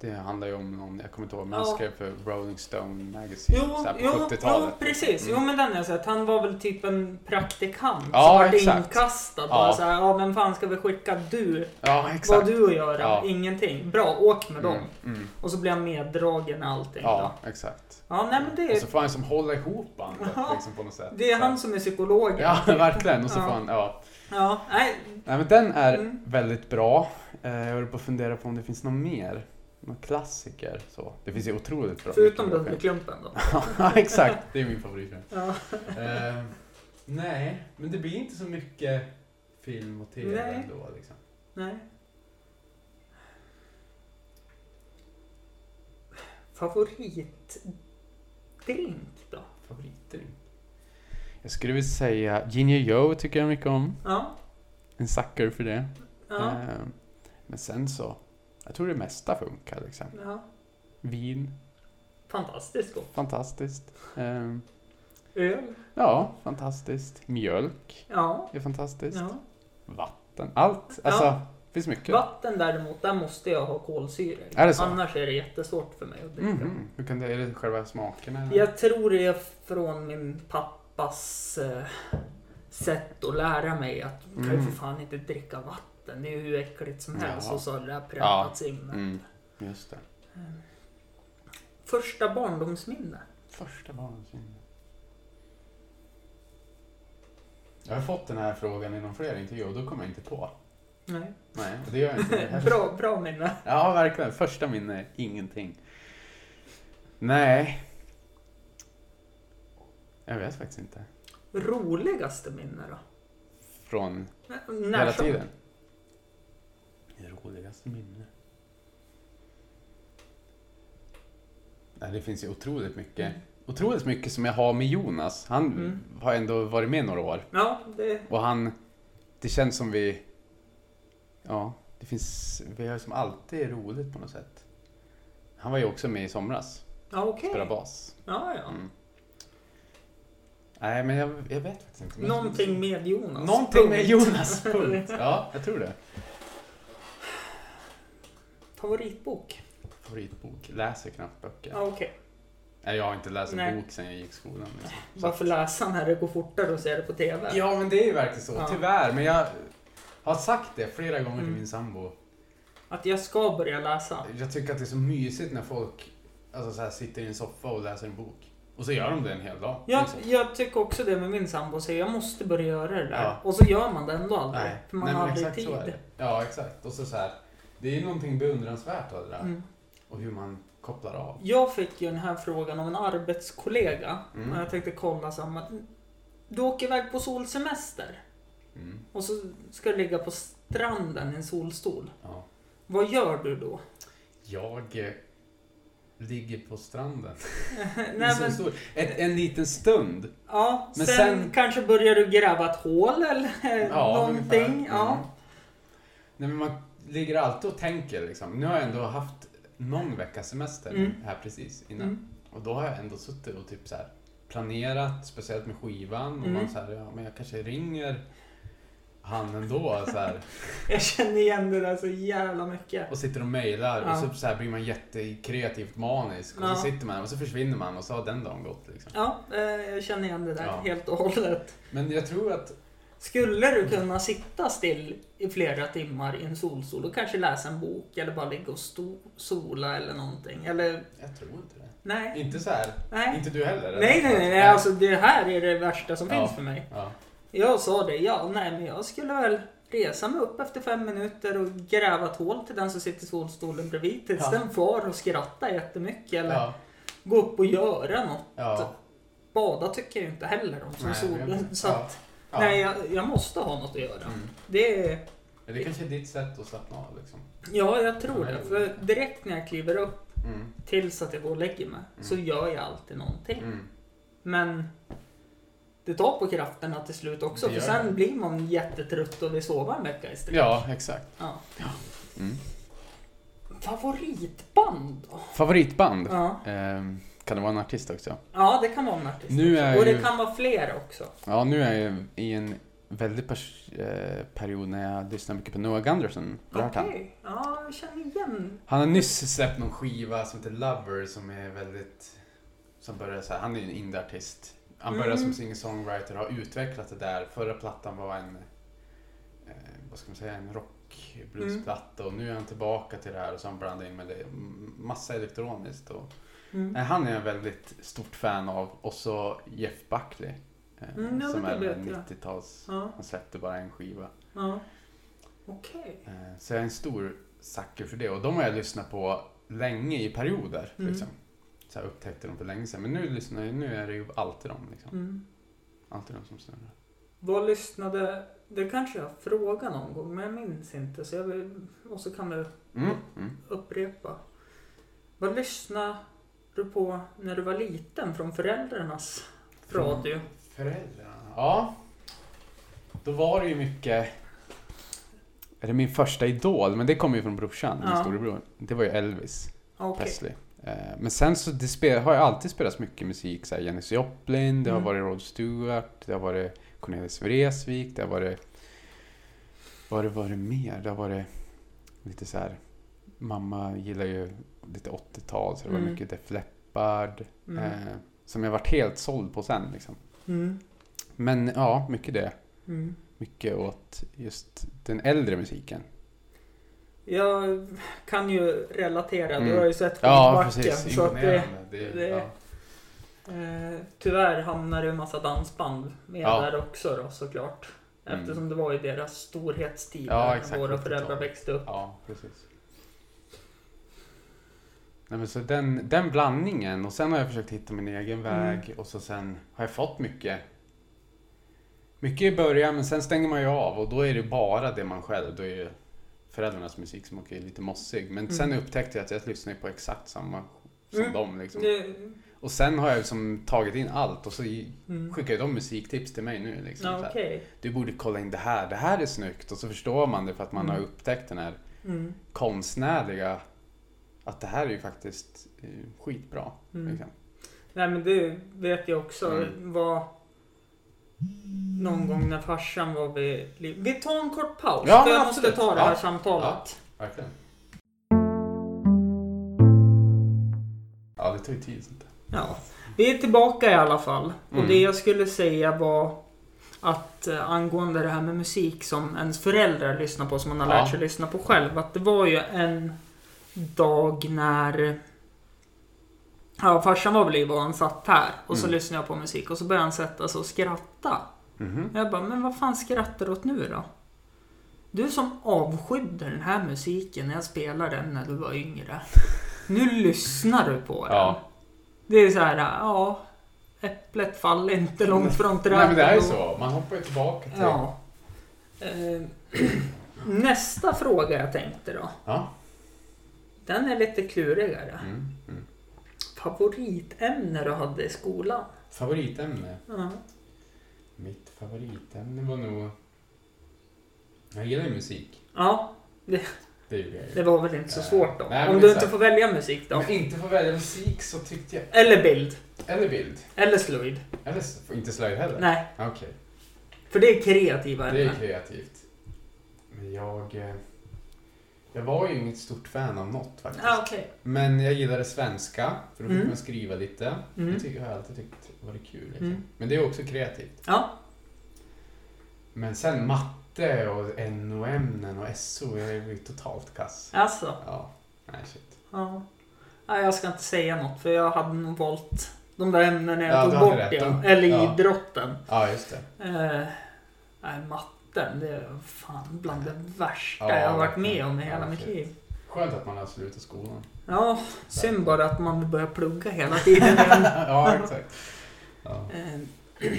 Det handlar ju om någon, jag kommer inte ihåg, men
Ja.
han skrev för Rolling Stone Magazine
Jo,
Typ så här på liksom. Mm.
jo,
70-talet.
jo precis. Jo, men den har jag sett. Han var väl typ en praktikant
Ja,
som vart
exakt.
inkastad.
Ja.
Bara så här, ja, vem fan ska vi skicka? Du?
Ja,
Vad
exakt.
har du att göra?
Ja.
Ingenting. Bra, åk med dem.
Mm, mm.
Och så blir han meddragen i allting.
Ja,
då.
exakt.
ja nej, men det,
Och
är,
så får han som hålla ihop bandet
Ja.
liksom, på något sätt.
det är
Så här.
han som är psykologen.
Ja, verkligen. Och så
Ja.
får han, ja.
Ja, nej.
Nej, men den är
Mm.
väldigt bra. Eh, Jag håller på att fundera på om det finns någon mer. Någon klassiker. Så. Det finns ju otroligt bra.
Förutom
mycket bra film.
Dunderklumpen då.
Ja, exakt. Det är min favoritfilm.
Ja.
Eh, nej, men det blir inte så mycket film och tv
Nej.
ändå. Liksom.
Nej. Favoritdrink då?
Favoritdrink? Jag skulle vilja säga Ginger Joe tycker jag mycket om.
Ja.
En sucker för det.
Ja.
Eh, men sen så, jag tror det mesta funkar liksom.
ja.
Vin,
Fantastiskt gott.
fantastiskt. Eh,
Öl.
ja, fantastiskt. Mjölk
Ja.
är fantastiskt.
ja.
Vatten, allt. Alltså, det finns mycket.
Vatten däremot, där måste jag ha kolsyra i.
Är det så?
Annars är det jättesvårt för mig att dricka.
Mhm. Hur kan det, är det själva smakerna? eller?
Jag tror det är från min pappas eh, sätt att lära mig att man kan ju
Mm.
för fan inte dricka vatten. Det är ju hur äckligt som helst.
Jaha.
Och så har det där präntats in. men-
Mm, just det.
Första barndomsminne.
Första barndomsminnet. Jag har fått den här frågan i någon fler intervju och då kommer jag inte på.
Nej.
Nej, och det gör jag inte. Det här-
bra, bra minne.
Ja, verkligen. Första minne, ingenting. Nej. Jag vet faktiskt inte.
Roligaste minne då?
Från
N-
hela
När som?
tiden. Det roligaste minne. Nej, det finns ju otroligt mycket. Otroligt mycket som jag har med Jonas. Han
Mm.
har ändå varit med några år.
Ja, det...
Och han, det känns som vi, ja, det finns, vi har som alltid roligt på något sätt. Han var ju också med i somras,
Ja, okej.
spelade bas.
Ja, ja.
Mm. Nej, men jag, jag vet faktiskt inte. Men-
Någonting med Jonas.
Någonting med
Punkt.
Jonas, punkt. Ja, jag tror det.
Favoritbok?
Favoritbok, läser knappt böcker.
Ja, okej.
Nej, jag har inte läst en
Nej.
bok sedan jag gick i skolan. Liksom. Så att-
Varför läsa när det går fortare att se det på TV?
Ja, men det är ju verkligen så.
Ja.
Tyvärr. Men jag har sagt det flera gånger till
Mm.
min sambo.
Att jag ska börja läsa.
Jag tycker att det är så mysigt när folk alltså, så här, sitter i en soffa och läser en bok. Och så gör de det en hel dag.
Jag,
liksom.
jag tycker också det med min sambo, så jag måste börja göra det där.
Ja.
Och så gör man det ändå aldrig. För man
Nej, men
har aldrig
exakt så är
tid.
det. Ja, exakt. Och så, så här, det är ju någonting beundransvärt av det där.
Mm.
Och hur man kopplar av.
Jag fick ju den här frågan av en arbetskollega.
Mm.
Och jag tänkte kolla samma. Du åker iväg på solsemester.
Mm.
Och så ska du ligga på stranden i en solstol.
Ja.
Vad gör du då?
Jag eh, ligger på stranden.
Nej,
Så
men,
stor. Ett, en liten stund.
ja,
Men
sen,
sen-
kanske börjar du gräva ett hål eller
ungefär.
någonting.
Mm.
Ja.
Nej, men man ligger alltid och tänker liksom. Nu har jag ändå haft någon veckas semester
Mm.
här precis innan.
Mm.
Och då har jag ändå suttit och typ så här planerat, speciellt med skivan. Och
Mm.
man så här, ja men jag kanske ringer han ändå så här,
Jag känner igen det där så jävla mycket.
och sitter och mejlar och
Ja.
så, så här blir man jättekreativt manisk och
Ja.
så sitter man och så försvinner man och så har den dagen gått liksom.
Ja, eh, jag känner igen det där
Ja.
helt och hållet.
Men jag tror att
Skulle du kunna sitta still i flera timmar i en solstol och kanske läsa en bok eller bara ligga och sto- sola eller någonting? Eller
Jag tror inte det.
nej,
Inte så här.
nej.
Inte du heller? eller?
Nej, nej, nej, nej. Alltså det här är det värsta som
Ja.
finns för mig.
Ja.
Jag sa det, ja, nej, men jag skulle väl resa mig upp efter fem minuter och gräva ett hål till den som sitter i solstolen bredvid tills
Ja.
den far och skrattar jättemycket eller
Ja.
gå upp och göra något.
Ja.
Bada tycker jag inte heller om som
Nej, jag vet
sol.
inte.
Så att,
Ja.
nej, jag, jag måste ha något att göra.
Mm.
Det är,
Men Det kanske är ditt sätt att slappna av liksom.
ja, jag tror
Nej.
det. För direkt när jag kliver upp
Mm.
tills att jag går och lägger mig så
Mm.
gör jag alltid någonting.
Mm.
Men det tar på krafterna till slut också.
Det
För
gör det.
sen blir man jättetrött och vill sova en vecka istället.
Ja, exakt.
Ja.
Mm.
Favoritband då?
Favoritband?
Ja.
Ehm, kan det vara en artist också?
ja, det kan vara en artist.
Nu är
och
jag
det
ju-
kan vara flera också.
Ja, nu är jag i en väldigt pers- eh, period när jag lyssnar mycket på Noah Gunderson. Har du hört han?
Okej, ja, jag känner igen.
Han har nyss släppt någon skiva som heter Lover som är väldigt... Som börjar så här, han är ju en indieartist. Han började
Mm.
som singer-songwriter och har utvecklat det där. Förra plattan var en... Eh, vad ska man säga? En rock bluesplatta
Mm.
och nu är han tillbaka till det här och så har han blandat in med det. m- Massa elektroniskt och...
Mm.
Nej, han är jag väldigt stort fan av. Och så Jeff Buckley. Eh,
Mm, ja,
som
men
är
det
väl
vet jag.
90-tals...
Ja,
Han släppte bara en skiva.
ja. Okej.
Eh, Så jag är en stor sucker för det och de har jag lyssnat på länge i perioder.
Mm.
Liksom. Så jag upptäckte dem för länge sedan. Men nu, lyssnar jag, nu är det ju alltid de. Liksom.
Mm.
Alltid de som snurrar.
Vad lyssnade... Det kanske jag frågade någon gång, men jag minns inte. Så jag vill, och så kan vi
Mm. Mm.
upprepa. Vad lyssnade du på när du var liten från föräldrarnas radio?
Föräldrarna. Ja. Då var det ju mycket... Är det min första idol? Men det kommer ju från brorsan, min
Ja.
storebror. Det var ju Elvis
Ah, Okej.
Presley. Eh, Men sen så det spel, har jag alltid spelats mycket musik. Så här Janis Joplin, det har
Mm.
varit Rod Stewart, det har varit Cornelis Vreeswijk, det har varit... Vad har det varit mer? Det har varit lite så här... Mamma gillar ju lite 80-tal, så det var
Mm.
mycket Def Leppard.
Mm.
Eh, som jag varit helt såld på sen liksom.
Mm.
Men ja, mycket det.
Mm.
Mycket åt just den äldre musiken.
Jag kan ju relatera. Du
Mm.
har ju sett
Ja,
Skidbacken.
precis.
så att det,
Imponerande. Det,
det-
ja.
eh, tyvärr hamnar det en massa dansband med
Ja.
där också då såklart.
Mm.
Eftersom det var ju deras storhetstid
Ja,
när
exakt.
våra föräldrar växte upp.
Ja, precis. Nej, men så den, den blandningen och sen har jag försökt hitta min
Mm.
egen väg och så sen har jag fått mycket. Mycket i början men sen stänger man ju av och då är det bara det man själv. Då är ju föräldrarnas musik som också är lite mossig. Men sen
Mm.
upptäckte jag att jag lyssnar ju på exakt samma som
Mm.
dem. Liksom.
Det,
Och sen har jag liksom tagit in allt och så i-
mm.
skickar ju de musiktips till mig nu. Liksom,
Ja,
så här,
okej.
Du borde kolla in det här, det här är snyggt. Och så förstår man det för att man
Mm.
har upptäckt den här
Mm.
konstnärliga att det här är ju faktiskt eh, skitbra.
Mm.
Liksom.
Nej men det vet jag också
Mm.
var någon gång när farsan var vid liv. Vi tar en kort paus
Ja,
för
men
jag måste
absolut.
ta det här
Ja.
samtalet.
Verkligen. Ja, det tar ju tid sånt där.
Ja. Vi är tillbaka i alla fall. Och
Mm.
det jag skulle säga var att eh, angående det här med musik som ens föräldrar lyssnar på, som man har
Ja.
lärt sig lyssna på själv. Att det var ju en dag när... Ja, farsan var väl i och han satt här. Och så
Mm.
lyssnade jag på musik och så började han sätta sig och skratta.
Mhm.
Jag bara, men vad fan skrattar du åt nu då? Du som avskydde den här musiken när jag spelade den när du var yngre. Nu lyssnar du på den.
Ja.
Det är så här, ja. Äpplet faller inte långt från trädet.
Nej men det är ju så. Man hoppar ju tillbaka till...
Ja. Eh, Nästa fråga jag tänkte då.
Ja.
Den är lite klurigare.
Mm. Mm.
Favoritämne du hade i skolan?
Favoritämne?
Ja.
Mitt favoritämne var nog... Jag gillar ju musik.
ja,
Det gjorde jag ju. Eh,
det var väl inte så svårt då.
Nej, men
Om du
exakt.
inte får välja musik då.
Om jag inte får välja musik så tyckte jag...
Eller bild.
Eller bild.
Eller slöjd.
Eller s- inte slöjd heller.
Nej,
Okej.
för det är kreativa
Det är
ämnen.
kreativt. Men jag... eh, Jag var ju inget stort fan av något faktiskt.
Ja, okej.
Men jag gillade svenska, för då fick
Mm.
man skriva lite. Det
Mm.
tycker jag har alltid tyckt varit kul. Liksom.
Mm.
Men det är också kreativt.
Ja.
Men sen matte och NO-ämnen och SO, jag är ju totalt kass.
Alltså,
Ja, nej shit.
ja. Nej, jag ska inte säga något för jag hade nog valt de där ämnena jag
Ja, du
tog
hade
bort
rätt.
igen.
De-
Eller
ja.
idrotten.
Ja, just det.
Eh, nej, matten. Det är fan bland det värsta
Ja,
jag har varit med
verkligen.
om i
Ja,
hela mitt
verkligen.
liv.
Skönt att man har slutat skolan.
Ja, synd bara att man börjar plugga hela tiden igen.
ja, exakt. Ja.
Eh,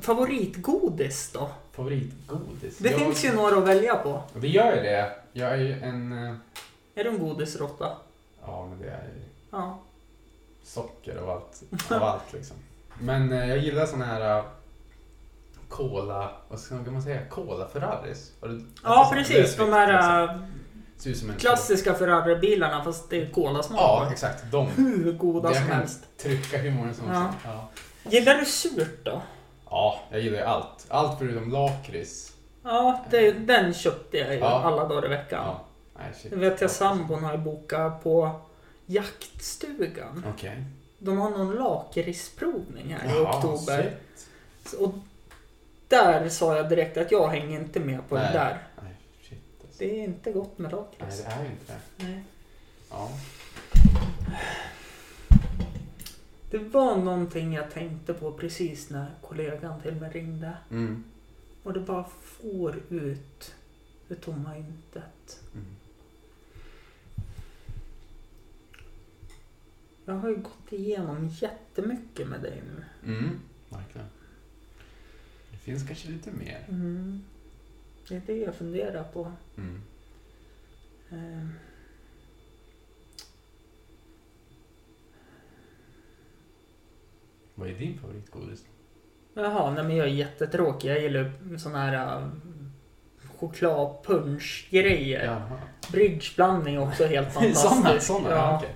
Favoritgodis då?
Favoritgodis?
Det
Jag-
finns ju några att välja på.
Och Det gör ju det. Jag är ju en... eh,
Är du en godisråtta?
Ja, men det är ju
Ja.
socker av allt, av allt liksom. Men eh, jag gillar såna här eh, Cola, vad ska man säga, Cola Ferraris? Har du-
ja,
alltså,
precis. De
lösvikt, liksom.
här eh,
Ser ut som en
klassiska Ferrari-bilarna fast det är kolasmak.
Ja, exakt. De.
Hur goda
Jag
som
kan-
helst.
Trycka hur många som
Ja.
helst. Ja.
Gillar du surt då?
ja, jag gillar ju allt. Allt förutom lakrits.
Ja, det, den köpte jag ju
Ja.
alla dagar i veckan.
Ja. Nej, shit.
Jag vet jag sambon har bokat på jaktstugan.
Okej.
De har någon lakritsprovning här i
Jaha,
oktober.
shit.
Och där sa jag direkt att jag hänger inte med på det
Nej.
där.
Nej, shit. alltså.
Det är inte gott med
Nej,
lakrits.
det är ju inte det.
Nej.
Ja.
Det var någonting jag tänkte på precis när kollegan till mig ringde.
Mm.
Och det bara får ut det tomma intet.
Mm.
Jag har ju gått igenom jättemycket med dig nu.
Mm. Verkligen. Det finns kanske lite mer.
Mm. Det är det jag funderar på.
Mm.
Eh.
Vad är din favoritgodis?
Jaha, nej men jag är jättetråkig. Jag gillar ju sån här äh, chokladpunschgrejer.
Jaha.
Bridgeblandning är också helt fantastiskt.
Såna, såna, ja.
Ja.
okej.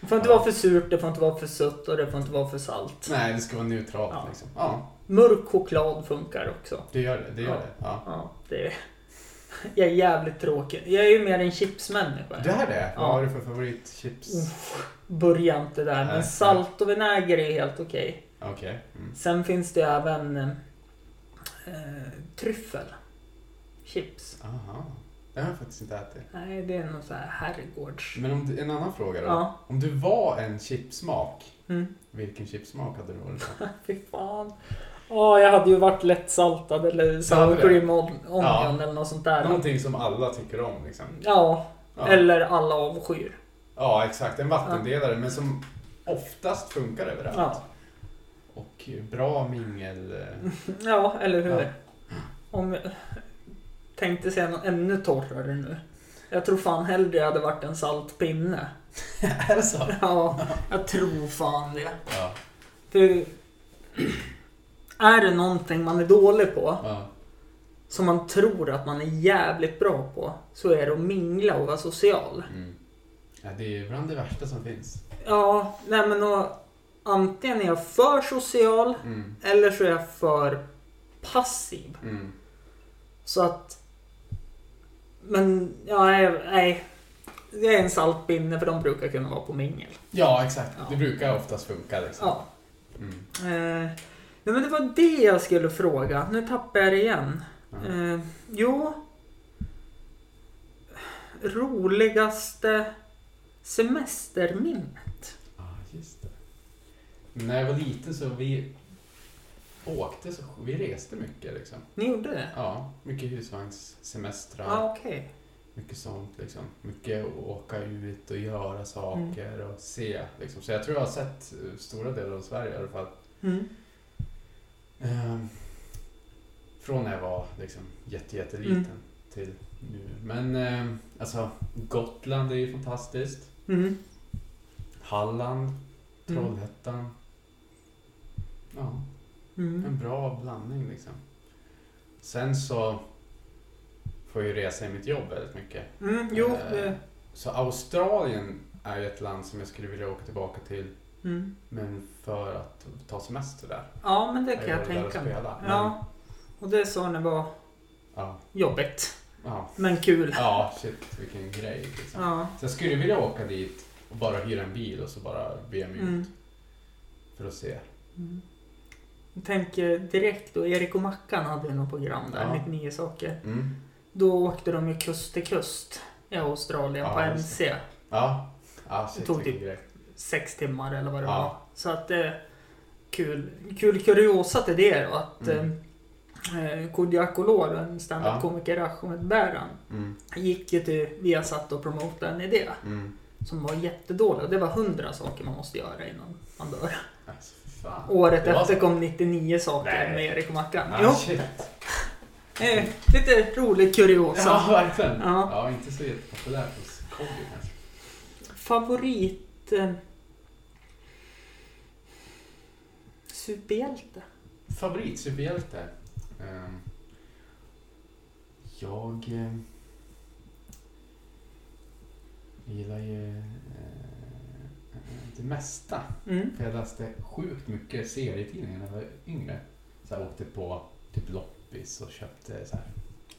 Det får inte vara för surt, det får inte vara för sött och det får inte vara för salt.
Nej, det ska vara neutralt
Ja.
liksom. Ja,
Mörk choklad funkar också.
det gör det. det, gör
Ja.
det. Ja.
Ja, det är... Jag är jävligt tråkig. Jag är ju mer en chipsmänniska.
Det här är det. Vad
Ja.
har du för favoritchips?
Börja inte där,
Nej, nej.
men salt och vinäger är ju helt okej.
Okej. Mm.
Sen finns det ju även eh, eh, tryffel. Chips.
Aha. Det har jag faktiskt inte ätit.
Nej, det är någon så här herrgårds...
Men om, du- en annan fråga då.
Ja.
Om du var en chipsmak,
Mm.
vilken chipsmak hade du varit då?
Fy fan. Åh, jag hade ju varit lättsaltad eller sour
det.
cream on- onion
Ja.
eller något sånt där.
Någonting som alla tycker om liksom.
Ja,
Ja,
eller alla avskyr.
ja exakt. En vattendelare, men som oftast funkar överallt.
Ja.
Och bra mingel... eh,
Ja, eller hur?
Ja.
Om jag tänkte säga något ännu torrare nu. Jag tror fan hellre jag hade varit en saltpinne.
är det så?
Ja, jag tror fan det.
Ja.
För är det någonting man är dålig på
ja.
som man tror att man är jävligt bra på så är det att mingla och vara social.
Mm. ja det är bland det värsta som finns.
Ja, nej men och, antingen är jag för social
Mm.
eller så är jag för passiv.
Mm.
Så att... Men, ja, nej. nej. Det är en saltpinne för de brukar kunna vara på mingel.
Ja, exakt.
Ja.
Det brukar oftast funka liksom.
Ja.
Mm.
Eh, nej, men det var det jag skulle fråga. Nu tappar jag det igen.
Ja.
Eh, jo. Roligaste semesterminnet.
Ja, just det. Men när jag var liten så vi åkte så vi reste mycket liksom.
Ni gjorde det?
Ja, mycket husvagnssemestrar,
ah, okej.
mycket sånt liksom. Mycket åka ut och göra saker
Mm.
och se liksom. Så jag tror jag har sett eh, stora delar av Sverige i alla fall.
Mm.
Ehm, från när jag var liksom jätte, jätteliten
Mm.
till nu. Men ehm, alltså Gotland är ju fantastiskt.
Mm.
Halland,
Mm.
Trollhättan. Ja. En
Mm.
bra blandning liksom. Sen så får jag ju resa i mitt jobb väldigt mycket.
Mm. Jo,
Eh,
det...
Så Australien är ju ett land som jag skulle vilja åka tillbaka till.
Mm.
Men för att ta semester där.
Ja, men det kan
Jag
jag
gillar att
tänka mig.
spela, men-
Ja. Och det sa ni var
Ja,
jobbigt,
ja,
men kul.
ja shit vilken grej. Liksom.
Ja.
Så jag skulle vilja åka dit och bara hyra en bil och så bara be mig
Mm.
ut. För att se.
Mm. Jag tänker direkt då, Erik och Mackan hade ju något program där,
Ja.
99 saker.
Mm.
Då åkte de ju kust till kust i Australien
Ja,
på
just
MC.
Ja, ja shit
Tog
vilken
typ-
grej.
Sex timmar eller vad det
Ja.
var. Så att det är kul, kul kuriosa till det då att
Mm.
eh, Kodjo Akolor, en standup-komiker i Aschemetbäran,
Mm,
gick ju till Viasat och promotade en idé
mm.
som var jättedålig. Och Det var hundra saker man måste göra innan man dör.
Alltså, fy fan.
Året
Det var
efter kom 99 saker
Nej.
med Erik och Mackan.
Ah,
Jo.
shit.
Eh, lite rolig kuriosa.
Ja, verkligen.
Ja.
Ja. inte så jättepopulärt hos alltså. Kodjo kanske.
Favorit... Eh, superhjälte?
Favorit superhjälte? Ehm, jag eh, gillar ju eh, det mesta.
Mm.
För jag läste sjukt mycket serietidningar när jag var yngre. Så jag åkte på typ loppis och köpte så här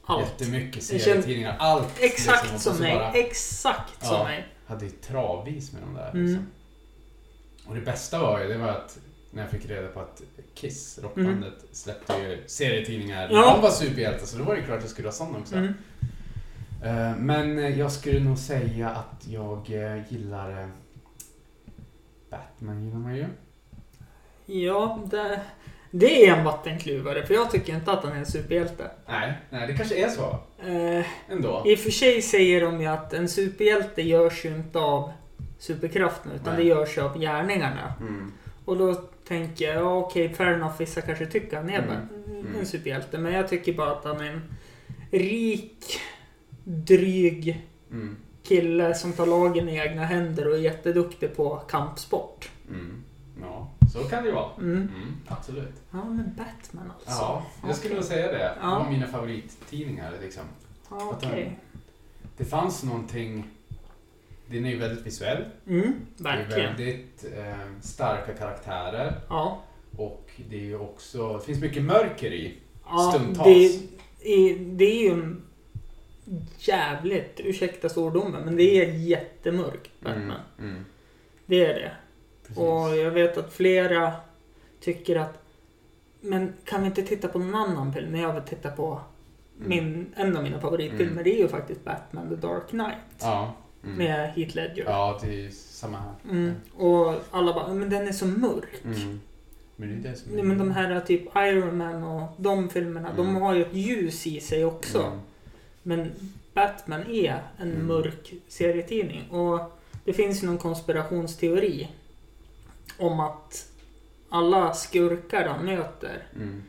Allt.
jättemycket
känns-
serietidningar. Allt!
Exakt
liksom. Och
som
så
mig.
bara-
Exakt som
Ja.
mig.
hade ju travis med de där.
Mm.
Liksom. Och det bästa var ju det var att när jag fick reda på att Kiss, rockbandet, släppte ju serietidningar.
Mm. Ja.
De var superhjältar så då var det klart att jag skulle ha sådana också.
Mm.
Eh, Men eh, jag skulle nog säga att jag eh, gillar eh, Batman gillar man ju.
Ja, det, det är en vattenkluvare för jag tycker inte att han är en superhjälte.
Nej, nej det kanske är så
Eh,
ändå.
I och för sig säger de ju att en superhjälte görs ju inte av superkraften utan
Nej.
det görs ju av gärningarna.
Mm.
Och då tänker jag, ja, okej, fair enough, vissa kanske tycker han är
Mm.
bara en
Mm.
superhjälte. Men jag tycker bara att han är en rik, dryg
Mm.
kille som tar lagen i egna händer och är jätteduktig på kampsport.
Mm. Ja, så kan det ju vara.
Mm.
Mm, absolut.
Ja, men Batman alltså.
Ja, jag skulle nog säga det. Det
Ja.
var mina favorittidningar liksom.
Ja,
att han-
okej.
Det fanns någonting... Den är ju väldigt visuell.
Mm,
Det är
verkligen.
väldigt eh, starka karaktärer.
Ja.
Och det är ju också... Det finns mycket mörker i.
ja
Stundtals.
det, är, det är ju en jävligt, ursäkta svordomen, men det är jättemörkt Batman.
mm,
Det är det.
precis. Mm.
Och jag vet att flera tycker att men kan vi inte titta på någon annan film? När jag vill titta på
Mm.
min, en av mina favoritfilmer,
Mm.
det är ju faktiskt Batman The Dark Knight
Ja. Mm.
med Heath Ledger.
Ja, det är ju samma här.
Mm. Och alla bara, men den är så mörk.
Mm. Men det är det som är...
Nej, men de här typ Iron Man och de filmerna, de
Mm.
har ju ett ljus i sig också. Men Batman är en
Mm.
mörk serietidning. Och det finns ju någon konspirationsteori om att alla skurkar de möter
Mm.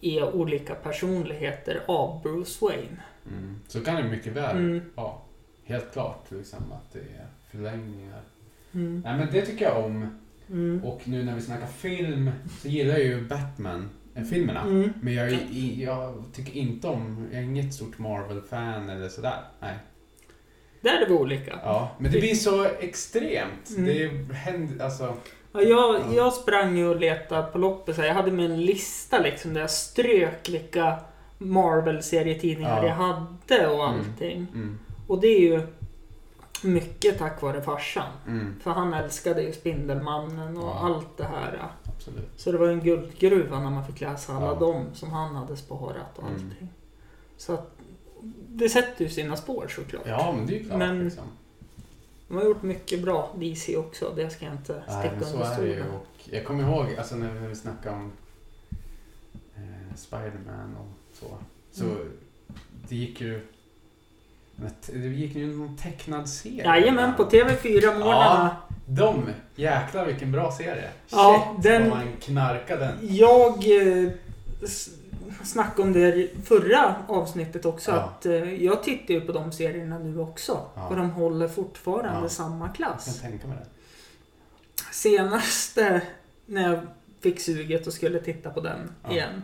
är olika personligheter av Bruce Wayne.
Mm. Så kan det mycket väl
Mm.
Ja, helt klart liksom att det är förlängningar.
Mm.
Nej men det tycker jag om.
Mm.
Och nu när vi snackar film så gillar jag ju Batman-filmerna.
Mm.
Men jag, är- i- jag tycker inte om, jag är inget stort Marvel-fan eller sådär. Nej.
Där är vi olika.
Ja, men det blir så extremt.
Mm.
Det händer, alltså.
Ja, jag, jag sprang ju och letade på loppis. här. Jag hade med en lista liksom, där jag strök vilka Marvel-serietidningar
Ja.
jag hade och
Mm.
allting.
Mm,
Och det är ju Mycket tack vare farsan.
Mm,
För han älskade ju Spindelmannen och
Ja.
allt det här.
absolut.
Så det var ju en guldgruva när man fick läsa alla
Ja.
dem som han hade sparat och
Mm.
allting. Så att det sätter ju sina spår såklart.
Ja, men det är ju klart
Men-
liksom.
De har gjort mycket bra DC också, det ska jag inte
Nej,
sticka
men så
under
är det ju.
stolen.
Och jag kommer ihåg alltså, när vi- när vi snackade om eh, Spider-Man och så. Så
Mm.
det gick ju... Det gick ju någon tecknad serie.
Jajamän, på TV4 morgnarna.
De! Jäklar vilken bra serie.
Ja,
Shit,
den-
vad man knarkade den.
Jag eh, s- snackade om det i förra avsnittet också.
Ja.
Att eh, jag tittar ju på de serierna nu också.
Ja.
Och de håller fortfarande
Ja.
samma
Jag kan
klass.
tänka mig det.
Senaste när jag fick suget och skulle titta på den
Ja.
igen.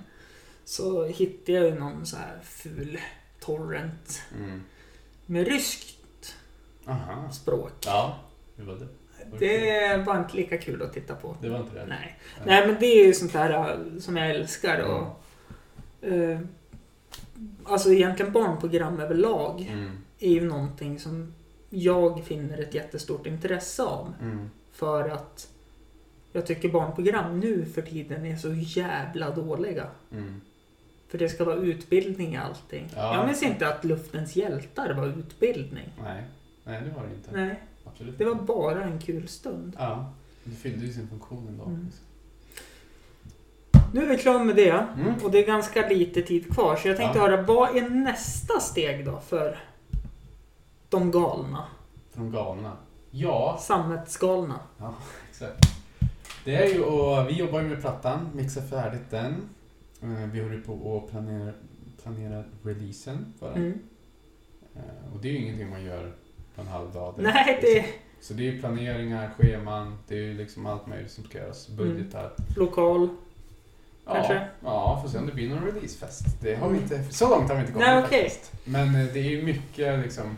Så hittade jag ju någon så här ful torrent
Mm.
med ryskt
Aha.
språk.
Ja, hur var det? Var
Det var inte lika kul att titta på.
Det var inte det?
Nej. Nej, men det är ju sånt där äh, som jag älskar. Och,
Mm.
eh, alltså egentligen barnprogram överlag
Mm.
är ju någonting som jag finner ett jättestort intresse av.
Mm.
För att jag tycker barnprogram nu för tiden är så jävla dåliga.
Mm.
För det ska vara utbildning i allting.
Ja.
Jag minns inte att Luftens hjältar var utbildning.
Nej. Nej, det var det inte.
Nej,
Absolut
det var bara en kul stund.
Ja, det fyllde ju sin funktion ändå. liksom.
Mm. Nu är vi klara med det.
Mm.
Och det är ganska lite tid kvar, så jag tänkte
Ja.
höra, vad är nästa steg då för de galna?
För de galna. Ja,
Sammetsgalna?
exakt. Det är ju och vi jobbar ju med plattan, mixar färdigt den. Eh, Vi håller på och planerar, planerar releasen för den.
Mm.
Eh, Och det är ju ingenting man gör på en halv dag. direkt,
Nej, det är
liksom. Så det är ju planeringar, scheman, det är ju liksom allt möjligt som ska göras. Budgetar.
lokal.
Ja,
Mm. Kanske?
Ja, får se om det blir någon releasefest. Det har vi
Mm.
inte, så långt har vi inte kommit
Nej, okej.
faktiskt. Men eh, det är ju mycket liksom,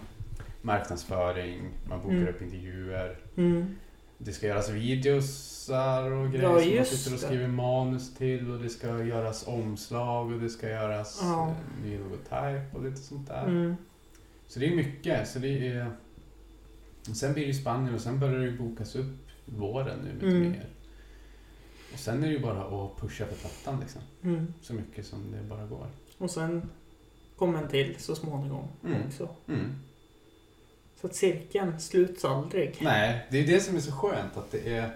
marknadsföring, man bokar
Mm.
upp intervjuer,
Mm.
det ska göras videosar och grejer
Ja,
som man
just
sitter och
det.
skriver manus till och det ska göras omslag och det ska göras
Ja.
eh, ny logotyp och lite sånt där.
Mm.
Så det är mycket. Så det är... och Sen blir det ju Spanien och sen börjar det ju bokas upp våren nu med
Mm.
turnéer. Och sen är det ju bara att pusha för plattan liksom
Mm.
så mycket som det bara går.
Och sen kom en till så småningom
Mm.
också. Så att cirkeln sluts aldrig.
Nej, det är det som är så skönt att det är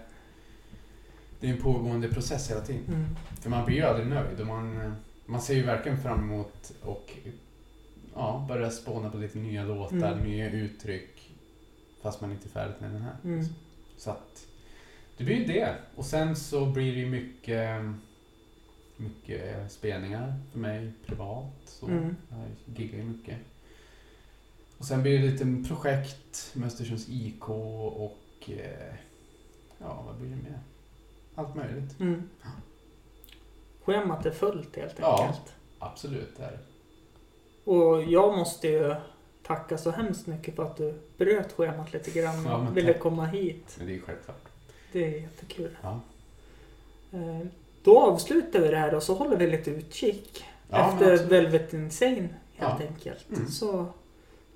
det är en pågående process hela tiden.
Mm.
För man blir ju aldrig nöjd och man, eh, man ser ju verkligen fram emot och ja, börja spåna på lite nya låtar,
Mm.
nya uttryck fast man inte är färdig med den här.
Mm.
Så att det blir ju det. Och sen så blir det ju mycket, mycket eh, spelningar för mig privat. Så.
Mm.
Jag giggar ju mycket. Och sen blir det lite projekt med Östersunds IK och eh, ja, vad blir det mer? Allt möjligt.
Mm. Schemat är fullt helt
Ja.
enkelt.
Absolut det är det.
Och jag måste ju tacka så hemskt mycket för att du bröt schemat lite grann och
Ja, men
ville
tack.
komma hit.
Men det är ju självklart.
Det är jättekul.
Ja.
Eh, Då avslutar vi det här och så håller vi lite utkik
Ja, men
efter
absolut.
Velvet Insane helt
Ja.
enkelt.
Mm.
Så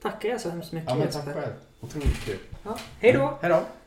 tackar jag så hemskt mycket
Ja men tack
Jesper.
själv. Otroligt kul.
Ja. Hej då!
Hej då.